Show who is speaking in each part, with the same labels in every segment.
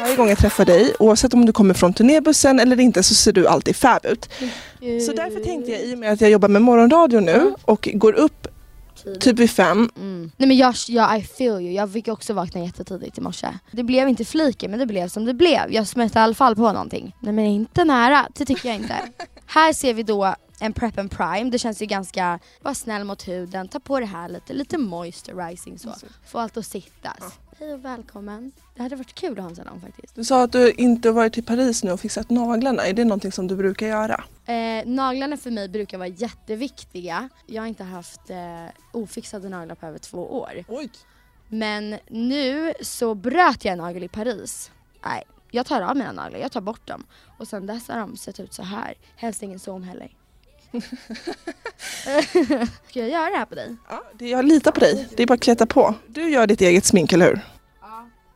Speaker 1: Varje gång jag träffar dig, oavsett om du kommer från turnébussen eller inte, så ser du alltid fab ut. Så därför tänkte jag, i och med att jag jobbar med morgonradio nu och går upp typ vid fem.
Speaker 2: Mm. Nej men jag, jag, I feel you. Jag fick också vakna jättetidigt i morse. Det blev inte fliken men det blev som det blev. Jag smälte i alla fall på någonting. Nej men inte nära, det tycker jag inte. här ser vi då en prep and prime. Det känns ju ganska, var snäll mot huden, ta på det här lite, lite moisturizing
Speaker 1: Mm.
Speaker 2: så. Få allt att sittas. Hej och välkommen. Det hade varit kul att ha en salong faktiskt.
Speaker 1: Du sa att du inte varit till Paris nu och fixat naglarna. Är det någonting som du brukar göra?
Speaker 2: Eh, naglarna för mig brukar vara jätteviktiga. Jag har inte haft eh, ofixade naglar på över två år.
Speaker 1: Oj!
Speaker 2: Men nu så bröt jag en nagel i Paris. Nej, jag tar av mina naglar, jag tar bort dem. Och sen dess har de sett ut så här. Helst ingen som heller. Ska jag göra det här på dig?
Speaker 1: Ja, det, jag litar på dig. Det är bara att klättra på. Du gör ditt eget smink, eller hur?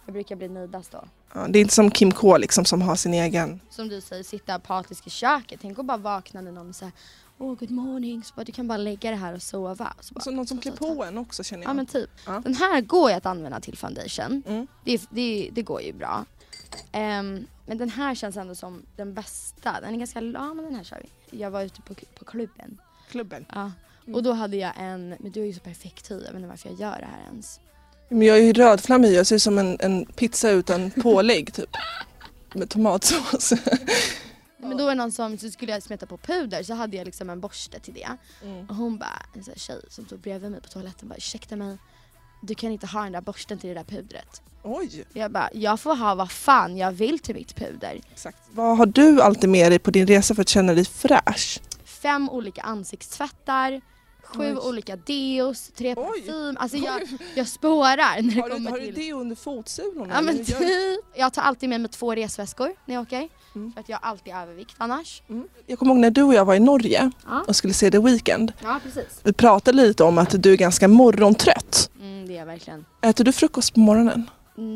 Speaker 2: Jag brukar bli nöjdast då.
Speaker 1: Ja, det är inte som Kim K liksom som har sin egen.
Speaker 2: Som du säger, sitta apatisk i köket. Tänk att bara vakna när någon säger Åh, good morning. Så bara, du kan bara lägga det här och sova. Så bara,
Speaker 1: Så någon som
Speaker 2: ta,
Speaker 1: klär
Speaker 2: ta,
Speaker 1: på en också känner
Speaker 2: Ja
Speaker 1: jag.
Speaker 2: men typ.
Speaker 1: Ja.
Speaker 2: Den här går ju att använda till foundation.
Speaker 1: Mm.
Speaker 2: Det, det, det går ju bra. Ehm, men den här känns ändå som den bästa. Den är ganska lång men den här kör vi. Jag var ute på, på klubben.
Speaker 1: Klubben.
Speaker 2: Ja. Och då hade jag en, men du har ju så perfekt hy. Jag vet inte varför jag gör det här ens.
Speaker 1: Men jag är ju rödflammig, jag ser ut som en, en pizza utan pålägg typ. Med tomatsås.
Speaker 2: Men då var det någon som, så skulle jag smeta på puder så hade jag liksom en borste till det. Och hon bara, en sån här tjej som stod bredvid mig på toaletten bara ursäkta mig. Du kan inte ha den där borsten till det där pudret.
Speaker 1: Oj!
Speaker 2: Jag bara, jag får ha vad fan jag vill till mitt puder.
Speaker 1: Exakt. Vad har du alltid med dig på din resa för att känna dig fräsch?
Speaker 2: fem olika ansiktstvättar, sju
Speaker 1: Oj.
Speaker 2: olika deos, tre
Speaker 1: Oj.
Speaker 2: parfym. Alltså jag, jag spårar när det
Speaker 1: Har du,
Speaker 2: kommer
Speaker 1: har du
Speaker 2: till...
Speaker 1: det under fotsulorna?
Speaker 2: Ja, men
Speaker 1: Eller gör-
Speaker 2: typ. Jag tar alltid med mig två resväskor när jag åker.
Speaker 1: Mm.
Speaker 2: För att jag har alltid övervikt annars.
Speaker 1: Mm. Jag kommer ihåg när du och jag var i Norge
Speaker 2: Ja.
Speaker 1: och skulle se The Weeknd.
Speaker 2: Ja precis.
Speaker 1: Vi pratade lite om att du är ganska morgontrött.
Speaker 2: Mm, det är jag verkligen.
Speaker 1: Äter du frukost på morgonen?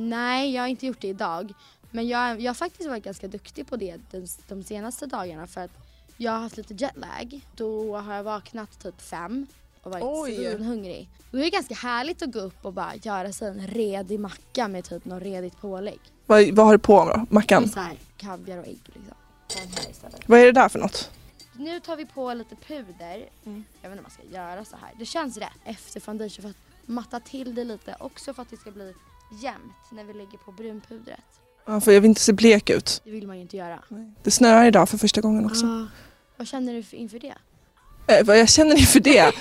Speaker 2: Nej, jag har inte gjort det idag. Men jag, jag har faktiskt varit ganska duktig på det de, de senaste dagarna för att jag har haft lite jetlag. Då har jag vaknat typ fem och
Speaker 1: Oj.
Speaker 2: varit svinhungrig. Då är det ganska härligt att gå upp och bara göra sig en redig macka med typ något redigt pålägg.
Speaker 1: Vad, vad har du på mackan?
Speaker 2: Så här, kaviar och ägg liksom. Den här istället.
Speaker 1: Vad är det där för något?
Speaker 2: Nu tar vi på lite puder.
Speaker 1: Mm.
Speaker 2: Jag vet inte om man ska göra så här. Det känns rätt efter foundation för att matta till det lite. Också för att det ska bli jämnt när vi lägger på brunpudret.
Speaker 1: Ja, för jag vill inte se blek ut.
Speaker 2: Det vill man ju inte göra.
Speaker 1: Det snöar idag för första gången också.
Speaker 2: Ah. Vad känner du för- inför det?
Speaker 1: Eh, vad jag känner inför det?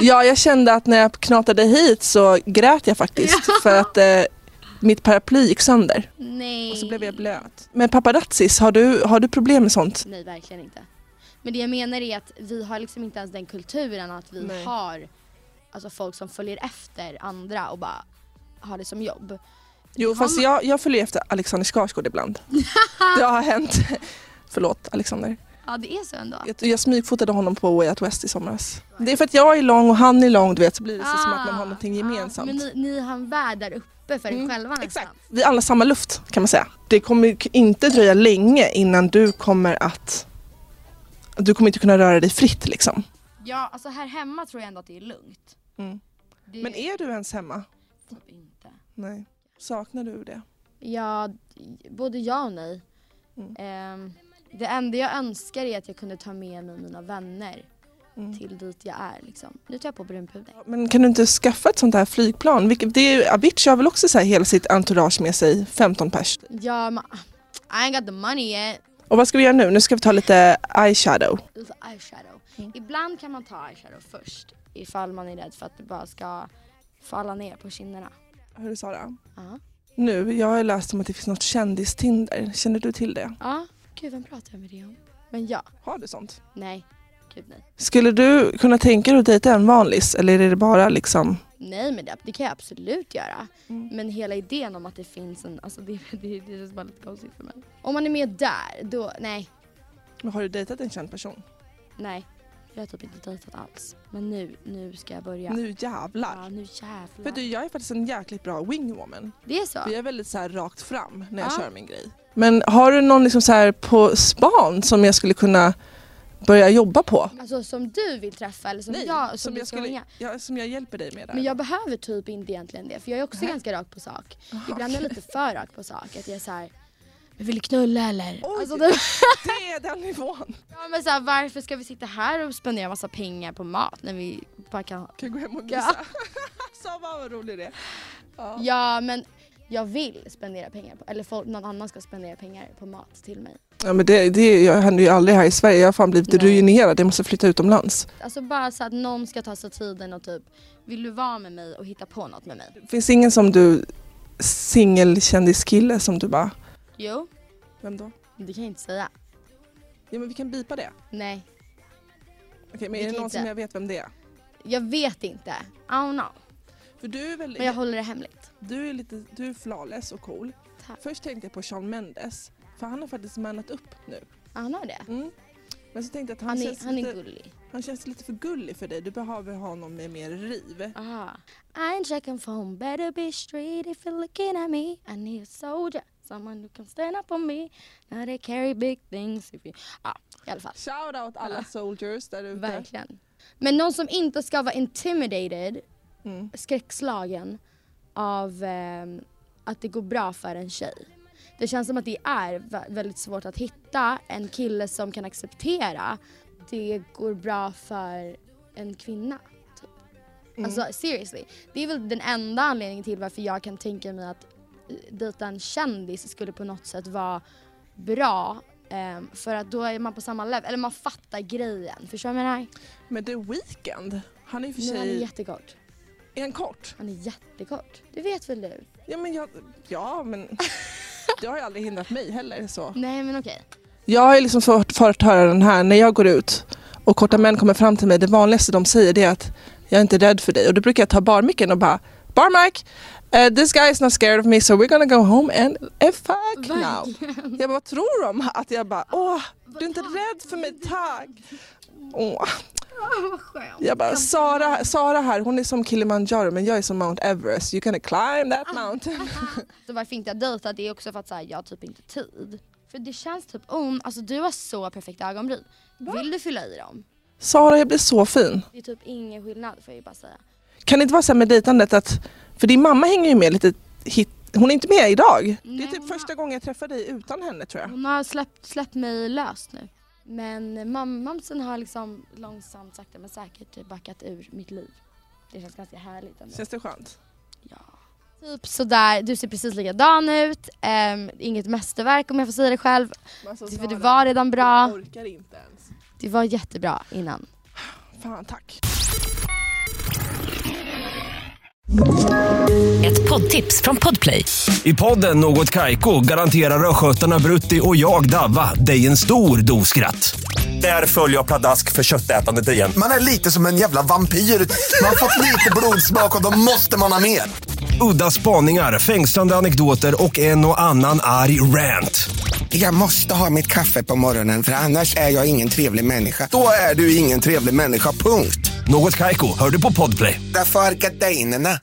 Speaker 1: ja, jag kände att när jag knatade hit så grät jag faktiskt för att eh, mitt paraply gick sönder
Speaker 2: Nej.
Speaker 1: och så blev jag blöt. Men paparazzis, har du, har du problem med sånt?
Speaker 2: Nej, verkligen inte. Men det jag menar är att vi har liksom inte ens den kulturen att vi
Speaker 1: Nej.
Speaker 2: har alltså folk som följer efter andra och bara har det som jobb.
Speaker 1: Jo, fast jag, jag följer efter Alexander Skarsgård ibland. det har hänt. Förlåt Alexander.
Speaker 2: Ja, det är så ändå.
Speaker 1: Jag, jag smygfotade honom på Way Out West i somras. Det är för att jag är lång och han är lång, du vet, så blir det så som att man har någonting
Speaker 2: Ah,
Speaker 1: gemensamt.
Speaker 2: men ni, ni har en värld där uppe för
Speaker 1: Mm,
Speaker 2: er själva nästan.
Speaker 1: Exakt. Vi alla samma luft kan man säga. Det kommer ju k- inte dröja länge innan du kommer att... Du kommer inte kunna röra dig fritt liksom.
Speaker 2: Ja, alltså här hemma tror jag ändå att det är lugnt.
Speaker 1: Mm.
Speaker 2: Det
Speaker 1: Men är du ens hemma?
Speaker 2: typ inte.
Speaker 1: Nej. Saknar du det?
Speaker 2: Ja, både ja och nej.
Speaker 1: Mm.
Speaker 2: Ehm, det enda jag önskar är att jag kunde ta med mig mina vänner
Speaker 1: Mm.
Speaker 2: till dit jag är. Liksom. Nu tar jag på brunpuder.
Speaker 1: Ja, Men kan du inte skaffa ett sånt här flygplan? Vilket, det är, ju- Avicii har väl också så här hela sitt entourage med sig, 15 pers.
Speaker 2: Ja, men I ain't got the money eh. yet.
Speaker 1: Och vad ska vi göra nu? Nu ska vi ta lite eyeshadow.
Speaker 2: Lite eyeshadow. Ibland kan man ta eyeshadow först ifall man är rädd för att det bara ska falla ner på kinderna.
Speaker 1: Hör du Sara?
Speaker 2: Ja.
Speaker 1: Nu, jag har läst om att det finns något kändistinder. Känner du till det?
Speaker 2: Ja. Gud, vem pratar jag med det om? Men ja.
Speaker 1: Har du sånt?
Speaker 2: Nej. Gud nej.
Speaker 1: Skulle du kunna tänka dig att dejta en vanlis eller är det bara liksom
Speaker 2: Nej men det, det kan jag absolut göra.
Speaker 1: Mm.
Speaker 2: Men hela idén om att det finns en, alltså det, det, det känns bara lite konstigt för mig. Om man är med där, då, nej,
Speaker 1: Men har du dejtat en känd person?
Speaker 2: nej. Jag har typ inte dejtat alls. Men nu, nu ska jag börja.
Speaker 1: Nu jävlar!
Speaker 2: Ja nu
Speaker 1: För
Speaker 2: jävlar.
Speaker 1: du, jag är faktiskt en jäkligt bra wingwoman.
Speaker 2: Det är så?
Speaker 1: För jag är väldigt så här rakt fram när jag
Speaker 2: Ja.
Speaker 1: kör min grej. Men har du någon liksom så här på span som jag skulle kunna börja jobba på?
Speaker 2: Alltså som du vill träffa eller som jag, som, du
Speaker 1: jag,
Speaker 2: ska
Speaker 1: skulle,
Speaker 2: hänga.
Speaker 1: ja, som jag hjälper dig med där.
Speaker 2: Men jag behöver typ inte egentligen det för jag är också
Speaker 1: Nej.
Speaker 2: ganska rakt på sak. Ibland är jag lite för rakt på sak. Att jag är så här, vill du knulla eller?
Speaker 1: Oj.
Speaker 2: Alltså, det,
Speaker 1: Det är den nivån.
Speaker 2: ja, men så här, varför ska vi sitta här och spendera massa pengar på mat när vi bara kan ha...
Speaker 1: Kan gå hem och
Speaker 2: Ja.
Speaker 1: mysa. Så vad vad rolig det är. Ja.
Speaker 2: Ja men jag vill spendera pengar på, eller folk, någon annan ska spendera pengar på mat till mig.
Speaker 1: ja men det, det jag händer ju aldrig här i Sverige. Jag har fan blivit
Speaker 2: Nej.
Speaker 1: ruinerad. Jag måste flytta utomlands.
Speaker 2: Alltså bara så att någon ska ta sig tiden och typ, vill du vara med mig och hitta på något med mig?
Speaker 1: Finns det ingen som du singelkändiskille som du bara,
Speaker 2: Jo,
Speaker 1: vem då?
Speaker 2: det kan jag inte säga.
Speaker 1: Ja men vi kan bipa det.
Speaker 2: Nej,
Speaker 1: Okej men
Speaker 2: Vi
Speaker 1: är det
Speaker 2: kan
Speaker 1: någon
Speaker 2: inte.
Speaker 1: som jag vet vem det är?
Speaker 2: jag vet inte. I don't know.
Speaker 1: För du är väl,
Speaker 2: Men jag håller det hemligt.
Speaker 1: du är lite, du är flawless och cool.
Speaker 2: Tack.
Speaker 1: Först tänkte jag på Shawn Mendes, för han har faktiskt mannat upp nu.
Speaker 2: Ja, han har det.
Speaker 1: Mm. Men så tänkte jag att han,
Speaker 2: Han
Speaker 1: känns
Speaker 2: är, han är
Speaker 1: lite,
Speaker 2: gullig.
Speaker 1: han känns lite för gullig för dig. Du behöver ha någon med mer riv.
Speaker 2: Aha. I ain't checking phone, better be straight if you're looking at me. I need a soldier, someone who can stand up for me. Now they carry big things. If you... Ja, i alla fall.
Speaker 1: Shout out alla
Speaker 2: Ja.
Speaker 1: soldiers där ute.
Speaker 2: Verkligen. Men någon som inte ska vara intimidated,
Speaker 1: Mm.
Speaker 2: skräckslagen av ehm, att det går bra för en tjej. Det känns som att det är vä- väldigt svårt att hitta en kille som kan acceptera det går bra för en kvinna. typ.
Speaker 1: Mm.
Speaker 2: Alltså seriously. Det är väl den enda anledningen till varför jag kan tänka mig att eh, dejta en kändis skulle på något sätt vara bra. ehm, för att då är man på samma level, eller man fattar grejen. Förstår du vad jag menar?
Speaker 1: Men The Weeknd, han är ju för
Speaker 2: Men han är
Speaker 1: sig,
Speaker 2: jättekort.
Speaker 1: är han kort?
Speaker 2: Han är jättekort. Det vet väl du?
Speaker 1: Ja men jag, ja men det har ju aldrig hindrat mig heller så.
Speaker 2: Nej men okej.
Speaker 1: Jag har ju liksom fått, fått höra den här när jag går ut och korta män kommer fram till mig. Det vanligaste de säger det är att jag är inte rädd för dig. Och då brukar jag ta barmicken och bara Barmic, uh, this guy is not scared of me so we're gonna go home and eh, fuck now. Jag bara, vad tror de? Att jag bara, åh, du är inte rädd för mig, tack. Åh.
Speaker 2: vad skönt.
Speaker 1: Jag bara, Sara, Sara här, hon är som Kilimanjaro men jag är som Mount Everest. You gonna climb that mountain.
Speaker 2: Så varför inte jag dejtar det är också för att så här, jag har typ inte tid. För det känns typ om, alltså du har så perfekta ögonbryn. Vill du fylla i dem?
Speaker 1: Sara, jag blir så fin.
Speaker 2: Det är typ ingen skillnad får jag ju bara säga.
Speaker 1: Kan det inte vara så här med dejtandet att, för din mamma hänger ju med lite hit, hon är inte med idag. det
Speaker 2: Nej,
Speaker 1: är typ
Speaker 2: hon har-
Speaker 1: första gången jag träffar dig utan henne tror jag.
Speaker 2: Hon har släppt, släppt mig lös nu. Men mammamsen har liksom långsamt sakta men säkert typ backat ur mitt liv. Det känns ganska härligt ändå.
Speaker 1: Känns det skönt?
Speaker 2: Ja. Typ sådär, du ser precis likadan ut. Ehm, inget mästerverk om jag får säga det själv. För det var redan bra.
Speaker 1: orkar inte ens.
Speaker 2: Det var jättebra innan.
Speaker 1: Fan tack.
Speaker 3: Ett poddtips från Podplay.
Speaker 4: I podden Något Kaiko garanterar östgötarna Brutti och jag, Davva, dig en stor dos skratt. Där följer jag pladask för köttätandet igen.
Speaker 5: Man är lite som en jävla vampyr. Man har fått lite blodsmak och då måste man ha mer.
Speaker 4: Udda spaningar, fängslande anekdoter och en och annan arg rant.
Speaker 6: Jag måste ha mitt kaffe på morgonen för annars är jag ingen trevlig människa.
Speaker 5: Då är du ingen trevlig människa, punkt.
Speaker 4: Något Kaiko, hör du på Podplay.
Speaker 6: Därför arkadeinerna.